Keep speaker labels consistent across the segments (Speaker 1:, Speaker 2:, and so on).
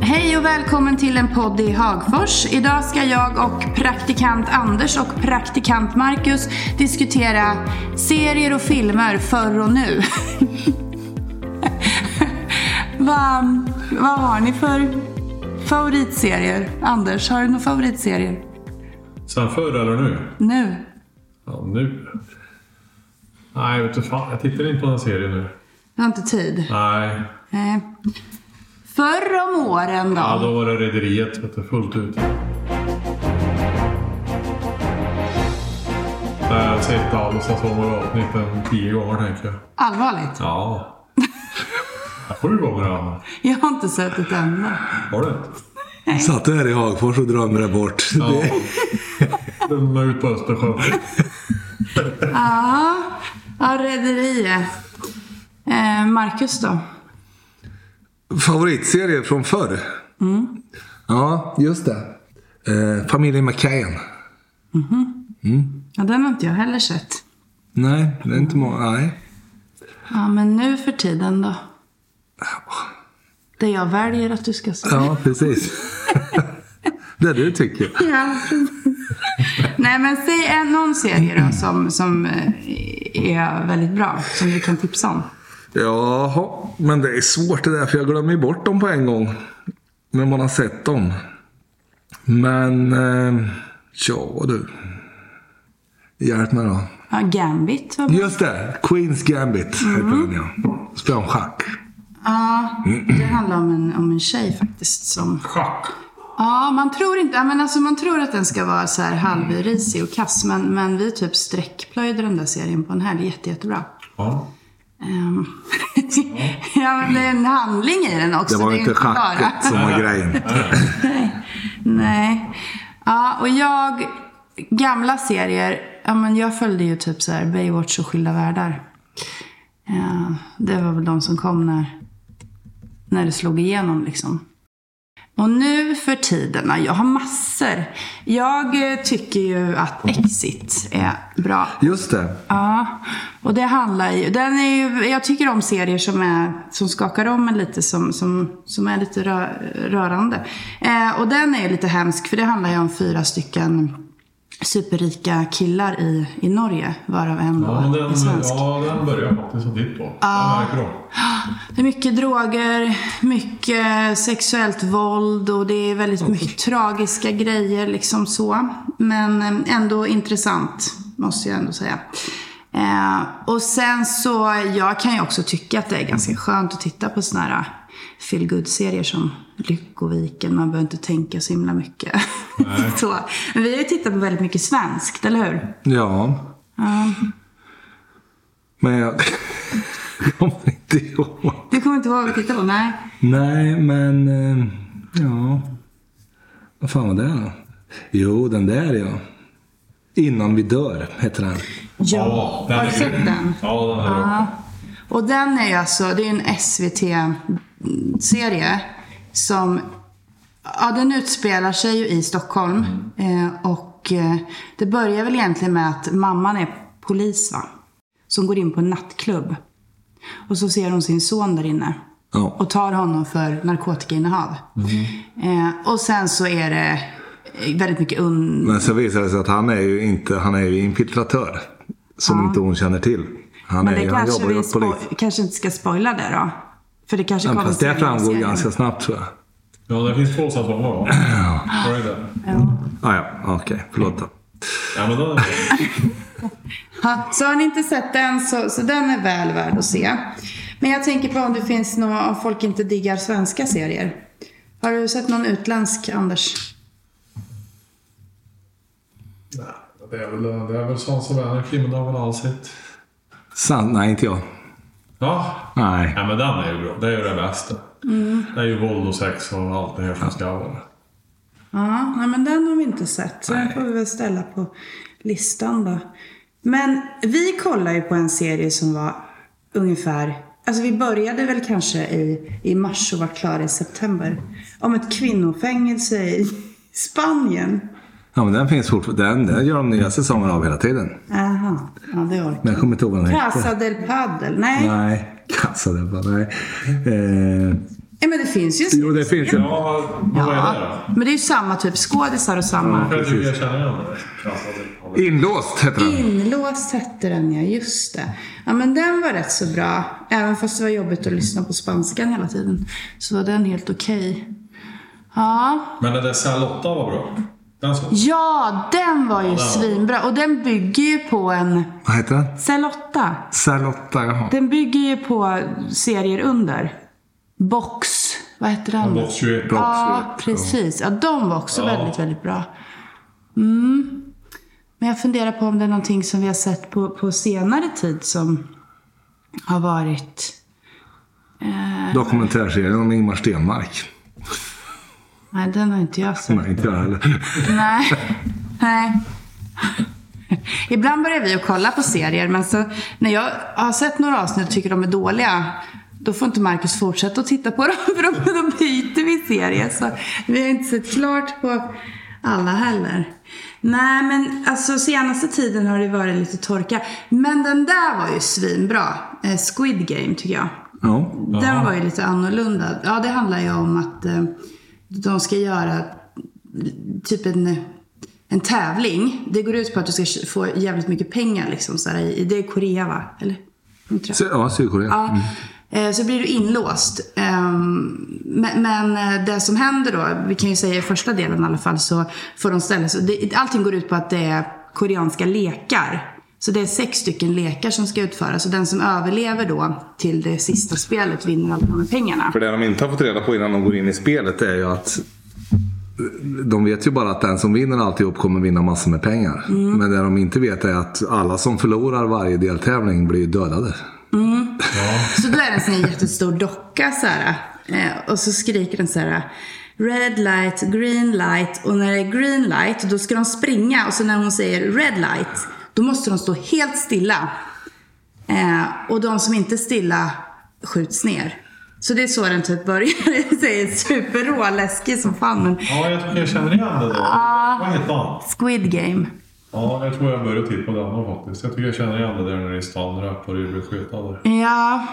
Speaker 1: Hej och välkommen till en podd i Hagfors. Idag ska jag och praktikant Anders och praktikant Marcus diskutera serier och filmer förr och nu. Vad vad har ni för favoritserier? Anders, har du några favoritserier?
Speaker 2: Sen förr eller nu?
Speaker 1: Nu?
Speaker 2: Ja, nu. Nej, vet du fan. Jag tittar inte på den serien nu.
Speaker 1: Jag har inte tid.
Speaker 2: Nej.
Speaker 1: Nej. Förr om åren då?
Speaker 2: Ja, då var det Rederiet, vet du, fullt ut. Nej, Jag har sett Dallas sommaravsnitten tio gånger, tänker jag.
Speaker 1: Allvarligt?
Speaker 2: Ja. Sju gånger har
Speaker 1: Jag har inte sett ett enda.
Speaker 2: jag. Har du inte?
Speaker 3: Satt här i Hagfors och drömde det bort.
Speaker 2: Ja. Den var ut på Östersjön.
Speaker 1: Ja, ja Rederiet. Eh, Marcus då?
Speaker 3: Favoritserie från förr?
Speaker 2: Mm.
Speaker 3: Ja, just det. Eh, familjen McCain.
Speaker 1: Ja, den har inte jag heller sett.
Speaker 3: Nej, det är inte många. Nej.
Speaker 1: Ja, men nu för tiden då? Det jag väljer att du ska se.
Speaker 3: Ja, precis. det du tycker.
Speaker 1: Ja. Nej, men säg en, någon serie då som, som eh, är väldigt bra, som du kan tipsa om.
Speaker 3: Jaha, men det är svårt det där för jag glömmer ju bort dem på en gång. När man har sett dem. Men, eh, ja du. Hjälp mig då.
Speaker 1: Ja, Gambit var bra.
Speaker 3: Just det, Queens Gambit heter
Speaker 2: Mm.
Speaker 3: den ja. Spelar om schack.
Speaker 1: Ja, det handlar om en, om en tjej faktiskt som...
Speaker 2: Schack.
Speaker 1: Ja, man tror inte... ja, Men alltså, man tror att den ska vara så här halvrisig och kass, men, men vi typ sträckplöjde den där serien på en helg jätte, jättebra.
Speaker 2: Ja.
Speaker 1: Ehm, ja, men det är en handling i den också.
Speaker 3: Det var
Speaker 1: är
Speaker 3: ju inte
Speaker 1: bara-
Speaker 3: schacket som var grejen.
Speaker 1: Nej. Ja, och jag... Gamla serier. Ja, men jag följde ju typ så här Baywatch och Skilda Världar. Ja, det var väl de som kom när, när det slog igenom liksom. Och nu för tiden, ja, jag har massor. Jag eh, tycker ju att Exit är bra.
Speaker 3: Just det.
Speaker 1: Ja, och det handlar ju, den är ju, jag tycker om serier som, är, som skakar om en lite, som, som, som är lite rö, rörande. Eh, och den är ju lite hemsk, för det handlar ju om fyra stycken superrika killar i, i Norge, varav en
Speaker 2: Ja,
Speaker 1: då är
Speaker 2: den,
Speaker 1: svensk.
Speaker 2: ja, den börjar jag faktiskt att titta på. Ja. Den verkar bra.
Speaker 1: Det är mycket droger, mycket sexuellt våld och det är väldigt mycket
Speaker 2: Mm.
Speaker 1: tragiska grejer liksom så. Men eh, ändå intressant, måste jag ändå säga. Eh, och sen så, jag kan ju också tycka att det är
Speaker 2: Mm.
Speaker 1: ganska skönt att titta på såna här feel good serier som Lyckoviken. Man behöver inte tänka så himla mycket. så. Men vi har ju tittat på väldigt mycket svenskt, eller hur?
Speaker 3: Ja. Men jag kommer inte ihåg.
Speaker 1: Du kommer inte ihåg att titta på? Nej.
Speaker 3: Nej, men... eh, Ja. Vad fan var det då? Jo, den där ja. Innan vi dör, heter den.
Speaker 2: Ja, den
Speaker 1: har du
Speaker 2: är
Speaker 1: sett
Speaker 2: grym.
Speaker 1: den?
Speaker 2: Ja, den är bra.
Speaker 1: Och den är ju alltså, det är en SVT-serie som, ja den utspelar sig ju i Stockholm.
Speaker 3: Mm.
Speaker 1: Eh, och eh, det börjar väl egentligen med att mamman är polis va? Som går in på en nattklubb. Och så ser hon sin son där inne.
Speaker 3: Ja.
Speaker 1: Och tar honom för narkotikainnehav.
Speaker 3: Mm-hmm.
Speaker 1: Eh, och sen så är det eh, väldigt mycket un...
Speaker 3: Men så visar det sig att han är ju inte, han är ju infiltratör. Som inte hon känner till. Han,
Speaker 1: Men
Speaker 3: är,
Speaker 1: det
Speaker 3: ju- han
Speaker 1: kanske
Speaker 3: jobbar ju
Speaker 1: vi
Speaker 3: åt polis.
Speaker 1: spo- kanske inte ska spoila det då. För det kanske
Speaker 3: Ja,
Speaker 1: kommer
Speaker 3: Fast det
Speaker 1: senare i
Speaker 3: framgår
Speaker 1: serien.
Speaker 3: ganska snabbt tror jag.
Speaker 2: Ja, det finns två säsonger va? Ja. Var är det?
Speaker 1: Ja.
Speaker 3: Ah, ja, okej. förlåt då.
Speaker 2: Ja, men den är bra.
Speaker 1: Ja, så har ni inte sett den så, så den är väl värd att se. Men jag tänker på om det finns några, om folk inte diggar svenska serier. Har du sett någon utländsk, Anders?
Speaker 2: Det är väl, det är väl Sons of Anarchy, men det har väl alla sett.
Speaker 3: Sant? Nej, inte jag.
Speaker 2: Ja.
Speaker 3: Nej.
Speaker 2: ja, men den är ju bra. Det är ju det bästa. Det är ju våld och sex och allt det här som ska vara.
Speaker 1: Ja, nej, men den har vi inte sett. Så den får vi väl ställa på listan då. Men vi kollar ju på en serie som var ungefär, alltså vi började väl kanske i, i mars och var klara i september. Om ett kvinnofängelse i Spanien.
Speaker 3: Ja, men den finns fortfarande. Den, den gör de nya säsonger av hela tiden.
Speaker 1: Aha, ja det orkar
Speaker 3: Men jag kommer inte ihåg vad den heter.
Speaker 1: Casa del Padel. Nej.
Speaker 3: Nej. Kassa det bara. Nej. Eh,
Speaker 1: Nej, men det finns ju en
Speaker 3: Jo, det finns ju.
Speaker 2: Ja, vad är det då?
Speaker 1: Men det är ju samma typ skådisar och samma.
Speaker 2: Jag tycker jag känner igen det.
Speaker 3: Inlåst heter den.
Speaker 1: Inlåst hette den ja, just det. Ja men den var rätt så bra. Även fast det var jobbigt att lyssna på spanskan hela tiden. Så var den helt okej. Ja.
Speaker 2: Men den där Salotta var bra. Den så.
Speaker 1: ja, den var ju svinbra. Och den bygger ju på en...
Speaker 3: Vad heter den?
Speaker 1: Celotta.
Speaker 3: Salotta, jaha.
Speaker 1: Den bygger ju på serier under. Box. Vad heter den?
Speaker 2: Box 21.
Speaker 1: Ja, precis. Ja, de var också
Speaker 2: Ja.
Speaker 1: väldigt, väldigt bra. Mm. Men jag funderar på om det är någonting som vi har sett på, på senare tid som har varit...
Speaker 3: Dokumentärserien om Ingmar Stenmark.
Speaker 1: Nej, den har inte jag sett.
Speaker 3: Nej, inte jag heller.
Speaker 1: Nej. Nej. Ibland börjar vi att kolla på serier, men så, när jag har sett några avsnitt och tycker de är dåliga, då får inte Marcus fortsätta att titta på dem, för då, då byter vi serie. Så vi har inte sett klart på alla heller. Nej, men alltså senaste tiden har det varit lite torka. Men den där var ju svinbra. Eh, Squid Game, tycker jag.
Speaker 3: Ja.
Speaker 1: Den var ju lite annorlunda. Ja, det handlar ju om att eh, de ska göra typ en, en tävling. Det går ut på att du ska få jävligt mycket pengar. Liksom, så här, i, det är Korea, va? Eller? Inte det?
Speaker 3: Sy- Ja, Sydkorea.
Speaker 1: Ja. Eh, Så blir du inlåst. Ehm, Men men, eh, det som händer då, vi kan ju säga i första delen i alla fall, så får de ställa sig. det- Allting går ut på att det är koreanska lekar. Så det är sex stycken lekar som ska utföras och den som överlever då till det sista spelet vinner alla de här pengarna.
Speaker 3: För det de inte har fått reda på innan de går in i spelet är ju att eh, de vet ju bara att den som vinner alltihop kommer vinna massor med pengar. Men det de inte vet är att alla som förlorar varje deltävling blir dödade.
Speaker 1: Så då är det en sån här jättestor docka så här. eh, Och så skriker den så här. Red light, green light. Och när det är green light, då ska de springa. Och så när hon säger red light, då måste de stå helt stilla. Eh, och de som inte är stilla skjuts ner. Så det är så den typ börjar. Det är superrå, läskig som fan. Men
Speaker 2: Ja, jag tycker jag känner igen det då. Det var inget annat.
Speaker 1: Squid Game.
Speaker 2: Ja, jag tror jag började titta på den då faktiskt. Jag tycker jag känner igen det där när det är stan rappar och blir skjutna där.
Speaker 1: Ja.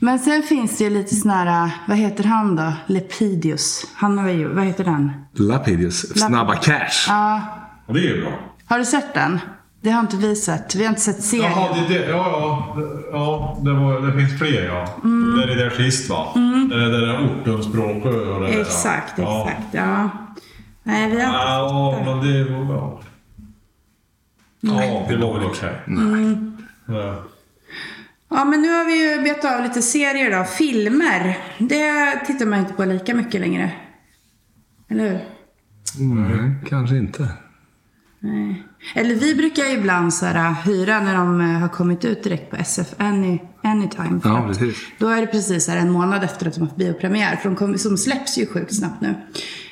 Speaker 1: Men sen finns det ju lite sån här, vad heter han då? Lepidius. Han har ju, vad heter den?
Speaker 3: Lapidius. Snabba cash.
Speaker 2: Och det är ju bra.
Speaker 1: Har du sett den? Det har inte vi sett. Vi har inte sett serien.
Speaker 2: Jaha, det, det, ja, ja, ja det, var, det finns fler ja. Det är det där sist va? Det är det där ortenspråket och det där.
Speaker 1: Exakt,
Speaker 2: ja.
Speaker 1: exakt. Ja. Nej, vi har inte
Speaker 2: Ja, ja, men det var bra. Ja, det Mm. var väl okej. Ja.
Speaker 1: Ja, men nu har vi ju betat av lite serier då. Filmer, det tittar man inte på lika mycket längre. Eller hur?
Speaker 3: Nej, Mm, kanske inte.
Speaker 1: Nej. Eller vi brukar ju ibland så här, hyra när de eh, har kommit ut direkt på SF Any, Anytime. För
Speaker 3: Ja,
Speaker 1: att
Speaker 3: precis.
Speaker 1: Då är det precis så här, en månad efter att de har haft biopremiär. För de, kom, som släpps ju sjukt snabbt nu.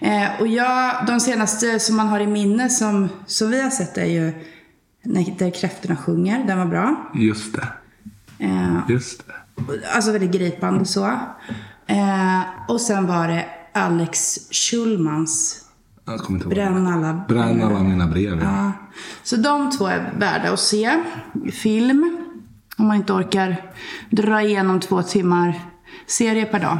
Speaker 1: Eh, och jag, de senaste som man har i minne som, som vi har sett är ju när, Där kräftorna sjunger. Den var bra.
Speaker 3: Just det.
Speaker 1: Eh,
Speaker 3: Just det.
Speaker 1: Alltså väldigt gripande så. Eh, och sen var det Alex Schulmans
Speaker 3: Jag kommer inte ihåg.
Speaker 1: Bränn alla
Speaker 3: Bränn alla mina brev. Ja.
Speaker 1: Ja. Så de två är värda att se. Film, om man inte orkar dra igenom två timmar serie per dag.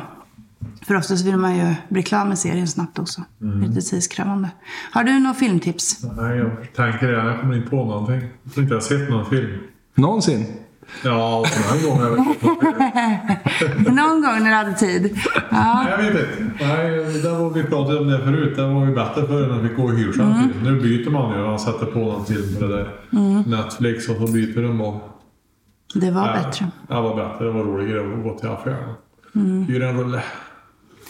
Speaker 1: För oftast vill man ju bli klar med serien snabbt också. Lite tidskrävande. Har du några filmtips?
Speaker 2: Nej, jag tänker det. Jag kommer inte på någonting. Jag tror inte jag har sett någon film.
Speaker 3: Någonsin.
Speaker 2: Ja, alltså, den här gången. har Jag vet inte.
Speaker 1: Någon gång när du hade tid. Ja.
Speaker 2: Nej, jag vet inte. Nej, det var, vi pratade om det förut. Det var ju bättre förr när vi fick gå i hyrsänd film. Nu byter man ju. Man sätter på någon film på det där. Netflix och så byter de och...
Speaker 1: Det var
Speaker 2: Ja,
Speaker 1: bättre. Mm.
Speaker 2: Det var bättre. Det var roligare att gå till affären. Hyra en rulle.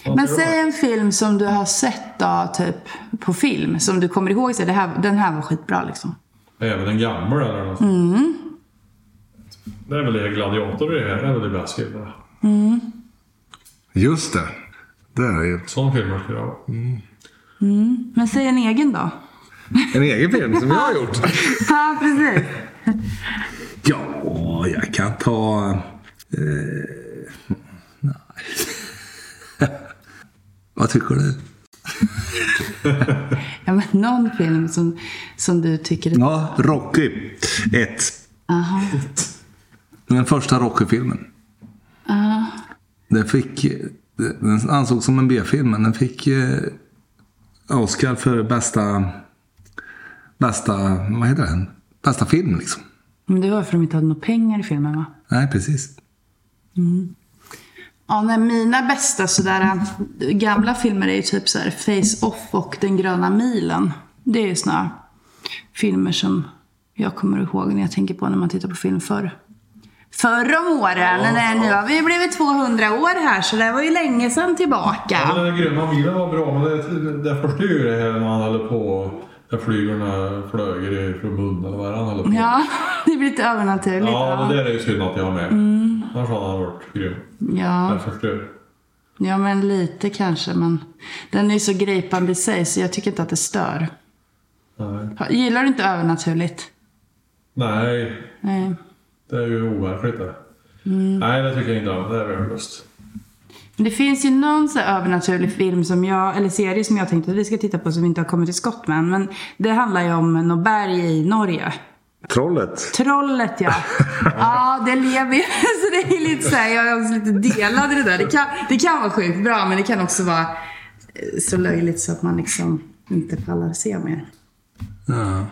Speaker 2: Ja,
Speaker 1: Men
Speaker 2: det var-
Speaker 1: säg en film som du har sett då, typ på film, som du kommer ihåg. Så här, det här, den här var skitbra liksom.
Speaker 2: Även en gammal eller något.
Speaker 1: Mm.
Speaker 2: Det är väl det gladiator det här. Det är väl det bästa filmerna.
Speaker 3: Just det. Det är ju.
Speaker 2: Sådana filmer skulle jag ha.
Speaker 1: Men säg en egen då.
Speaker 3: En egen film som jag har gjort.
Speaker 1: Ja, precis.
Speaker 3: Ja, jag kan ta... Eh, nej. Vad tycker du?
Speaker 1: Ja, men någon film som, som du tycker...
Speaker 3: Ja, Rocky 1.
Speaker 1: Aha.
Speaker 3: Den första Rocky-filmen. Den fick Den ansågs som en B-film, men den fick eh, Oscar för bästa... Bästa... Vad heter den? Bästa film, liksom.
Speaker 1: Men det var för att de inte hade några pengar i filmen va?
Speaker 3: Nej, precis.
Speaker 1: Ja, nej, mina bästa sådär äh, gamla filmer är ju typ så här Face Off och Den gröna milen. Det är ju såna filmer som jag kommer ihåg när jag tänker på när man tittar på film förr. Förr om åren, nej, nu har vi ju blivit 200 år här så det var ju länge sedan
Speaker 2: Ja,
Speaker 1: tillbaka.
Speaker 2: Den där gröna milen var bra, men det, det förstör ju det här när han håller på. Där flygorna flög från munnen och varandra håller på.
Speaker 1: Ja, det blir lite övernaturligt.
Speaker 2: ja, det
Speaker 1: va?
Speaker 2: där är ju synd att jag har med. Annars hade han varit grym.
Speaker 1: Mm. ja.
Speaker 2: Den förstör.
Speaker 1: ja, men lite kanske. Men den är ju så gripande i sig så jag tycker inte att det stör.
Speaker 2: Nej.
Speaker 1: Gillar du inte övernaturligt?
Speaker 2: Nej,
Speaker 1: Nej.
Speaker 2: det är ju overkligt det.
Speaker 1: Mm.
Speaker 2: Nej, det tycker jag inte om. Det är värdelöst.
Speaker 1: Men Det finns ju någon så här övernaturlig film som jag, eller serie som jag tänkte att vi ska titta på som vi inte har kommit till skott med än. Men det handlar ju om något berg i Norge.
Speaker 3: Trollet.
Speaker 1: Trollet ja. ja, det lever ju. Så det är lite så här, jag är också lite delad i det där. Det kan, det kan vara sjukt bra men det kan också vara eh, så löjligt så att man liksom inte pallar se mer.
Speaker 3: Ja.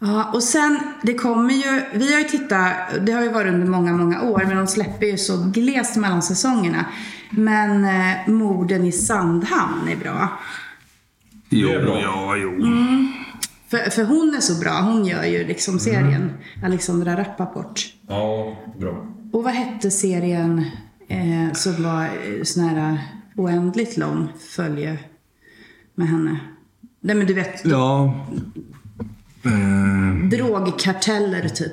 Speaker 1: Ja, och sen, det kommer ju, vi har ju tittat, det har ju varit under många, många år, men de släpper ju så glest mellan säsongerna. Men eh, morden i Sandhamn är bra.
Speaker 3: Jo,
Speaker 2: Det är bra.
Speaker 3: ja, jo.
Speaker 1: För, för hon är så bra, hon gör ju
Speaker 2: Mm.
Speaker 1: liksom serien, Alexandra Rappaport.
Speaker 2: Ja, bra.
Speaker 1: Och vad hette serien eh, som var eh, sån här oändligt lång följe med henne? Nej men du vet,
Speaker 3: Ja. Eh,
Speaker 1: drogkarteller typ.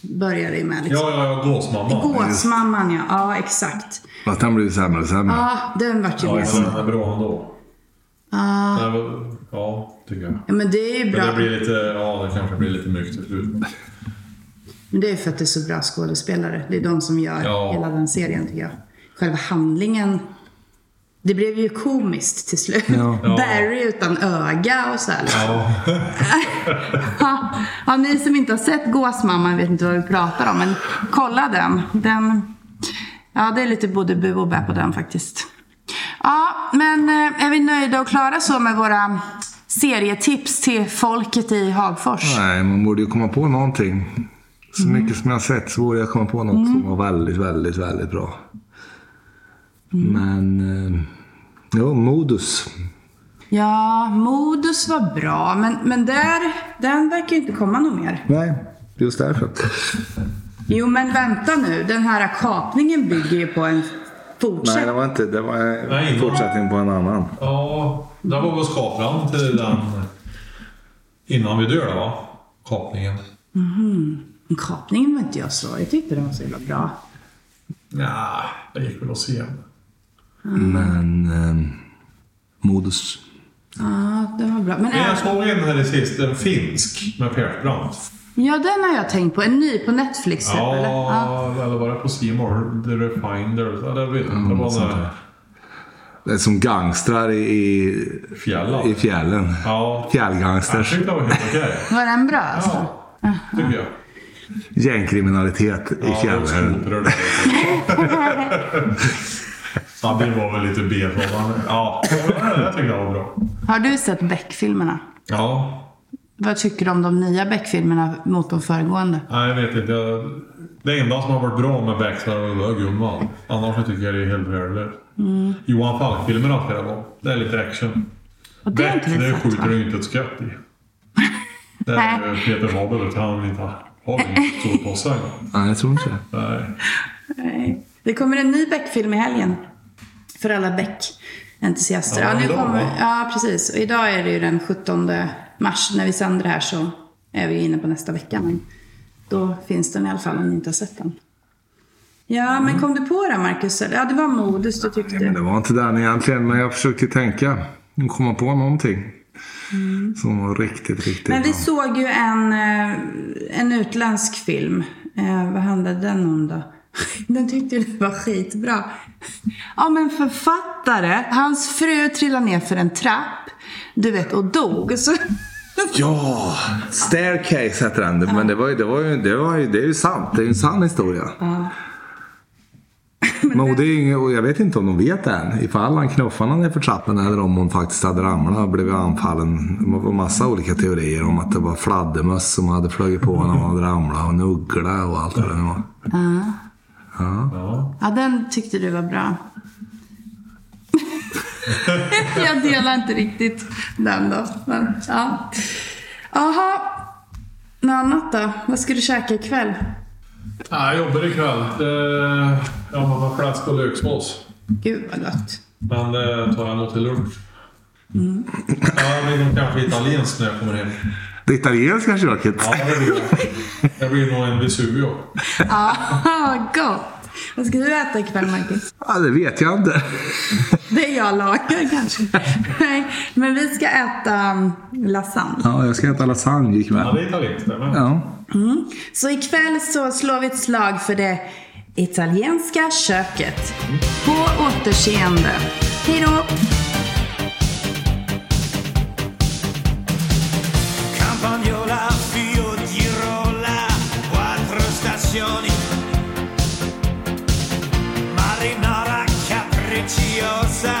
Speaker 1: Börjar det ju med liksom.
Speaker 2: Ja, ja, ja. Gåsmamma.
Speaker 1: Gåsmamman ja, ja exakt.
Speaker 3: fast den blir ju sämre och sämre.
Speaker 1: Ja, den vart ju bra.
Speaker 2: Ja, men den är bra ändå.
Speaker 1: Ja,
Speaker 2: Det var- Ja, tycker jag.
Speaker 1: Ja, men det är ju
Speaker 2: Men
Speaker 1: Ah. bra.
Speaker 2: det blir lite, ja det kanske blir lite mjukt till slut.
Speaker 1: Men det är för att det är så bra skådespelare. Det är de som gör
Speaker 2: Ja.
Speaker 1: hela den serien tycker jag. Själva handlingen. Det blev ju komiskt till slut.
Speaker 3: Ja.
Speaker 2: Ja.
Speaker 1: Barry utan öga och så här.
Speaker 2: Ja.
Speaker 1: Ja, ja, ni som inte har sett Gåsmamman vet inte vad vi pratar om, men kolla den. den ja, det är lite både bu och bä på den faktiskt. Ja, men eh, är vi nöjda och klara så med våra serietips till folket i Hagfors?
Speaker 3: Nej, man borde ju komma på någonting. Så mycket som jag har sett så borde jag komma på något som var väldigt, väldigt, väldigt bra. Men... Eh, jo, modus.
Speaker 1: Ja, Modus var bra, men, men där, den verkar ju inte komma något mer.
Speaker 3: Nej, just därför.
Speaker 1: Jo, men vänta nu. Den här kapningen bygger ju på en
Speaker 3: Nej, det
Speaker 1: fortsättning.
Speaker 3: var inte... Det var en
Speaker 2: Nej.
Speaker 3: fortsättning på en annan.
Speaker 2: Ja, där var väl skapran till den innan vi dör va? Kapningen.
Speaker 1: Men Kapningen var inte jag så. Jag tyckte den var så himla bra.
Speaker 2: Nja, det gick väl att se.
Speaker 3: Men... Eh, modus.
Speaker 1: Ja, den var bra. Men eh,
Speaker 2: Men
Speaker 1: även-
Speaker 2: jag såg en här i sist, en finsk med Persbrandt.
Speaker 1: Ja, den har jag tänkt på. En ny på Netflix typ,
Speaker 2: Ja,
Speaker 1: eller? Ja.
Speaker 2: eller var det på C More? The Refinder? Ja, det vet jag inte. Det var
Speaker 3: sånt
Speaker 2: den här
Speaker 3: Det är som gangstrar i, i, i
Speaker 2: fjällan.
Speaker 3: fjällen.
Speaker 2: Ja. Jag
Speaker 3: Fjällgangsters.
Speaker 2: tyckte det var helt okej.
Speaker 1: Var den bra alltså?
Speaker 2: Ja, tycker jag.
Speaker 3: Gängkriminalitet i
Speaker 2: Ja, det var
Speaker 3: fjällen.
Speaker 2: skotrörd. Ja, det var väl lite B på men- Ja, jag tyckte det var bra.
Speaker 1: Har du sett Beck-filmerna?
Speaker 2: Ja,
Speaker 1: Vad tycker du om de nya Beck-filmerna mot de föregående?
Speaker 2: Nej, jag vet inte. Jag... Det enda som har varit bra med Baxter var Gunvald. Annars så tycker jag det är helt värdelöst.
Speaker 1: Mm.
Speaker 2: Johan Falk-filmerna spelar bra. Det är lite action.
Speaker 1: Och det har
Speaker 2: Beck,
Speaker 1: inte vi
Speaker 2: det
Speaker 1: sett
Speaker 2: skjuter
Speaker 1: va?
Speaker 2: du inte ett skott i. Det är ju Peter Haber, utan han vill inte ha ha en sovpåse.
Speaker 3: Nej, jag tror inte det.
Speaker 2: Nej.
Speaker 1: Nej. Det kommer en ny Beck-film i helgen. För alla Beck-entusiaster.
Speaker 2: Ja,
Speaker 1: Ja, nu
Speaker 2: idag,
Speaker 1: kommer...
Speaker 2: va?
Speaker 1: ja, precis. Och idag är det ju den 17 mars. När vi sänder det här så är vi ju inne på nästa vecka. Men då finns den i alla fall om ni inte har sett den. Ja, men kom du på det Marcus? Ja, det var modus du tyckte.
Speaker 3: Men det var inte den egentligen, men jag försökte tänka och komma på någonting. Som var riktigt, riktigt
Speaker 1: Men vi
Speaker 3: bra.
Speaker 1: såg ju en, eh, en utländsk film. Eh, vad handlade den om då? Den tyckte du var skitbra. Ja men författare, hans fru trillade ner för en trapp. Du vet och dog. Så,
Speaker 3: Ja! Staircase hette den. Men det, var ju, det, var ju, det, var ju, det är ju sant. Det är ju en sann historia.
Speaker 1: Men
Speaker 3: Men och det är ju inget, och jag vet inte om de vet än ifall han knuffade henne för trappen eller om hon faktiskt hade ramlat och blivit anfallen. Det var massa olika teorier om att det var fladdermöss som hade flugit på honom och hade ramlat och en uggla och allt vad det nu var.
Speaker 2: Ja.
Speaker 1: Ja, den tyckte du var bra. jag delar inte riktigt den då. Men, ja. Jaha. Något annat då? Vad ska du käka ikväll?
Speaker 2: Ja, jag jobbar ikväll. Eh, Ja, man har fläsk och löksmås.
Speaker 1: Gud vad gott.
Speaker 2: Men det tar jag nog till lunch. Ja, det blir nog kanske italienskt när jag kommer hem.
Speaker 3: Det italienska köket.
Speaker 2: Ja, det blir det. Det blir nog en Vesuvio.
Speaker 1: Ja, Ah, gott. Vad ska du äta ikväll Marcus?
Speaker 3: Ja, det vet jag inte.
Speaker 1: Det jag lagar kanske. Nej, men vi ska äta mm, lasagne.
Speaker 3: Ja, jag ska äta lasagne
Speaker 2: Ja,
Speaker 3: ikväll.
Speaker 2: det är italienskt det med.
Speaker 3: Ja.
Speaker 1: Så ikväll så slår vi ett slag för det italienska köket. På återseende. Hej då!
Speaker 4: Campagnola, Fio, Girola, quattro stazioni. Marinara capricciosa,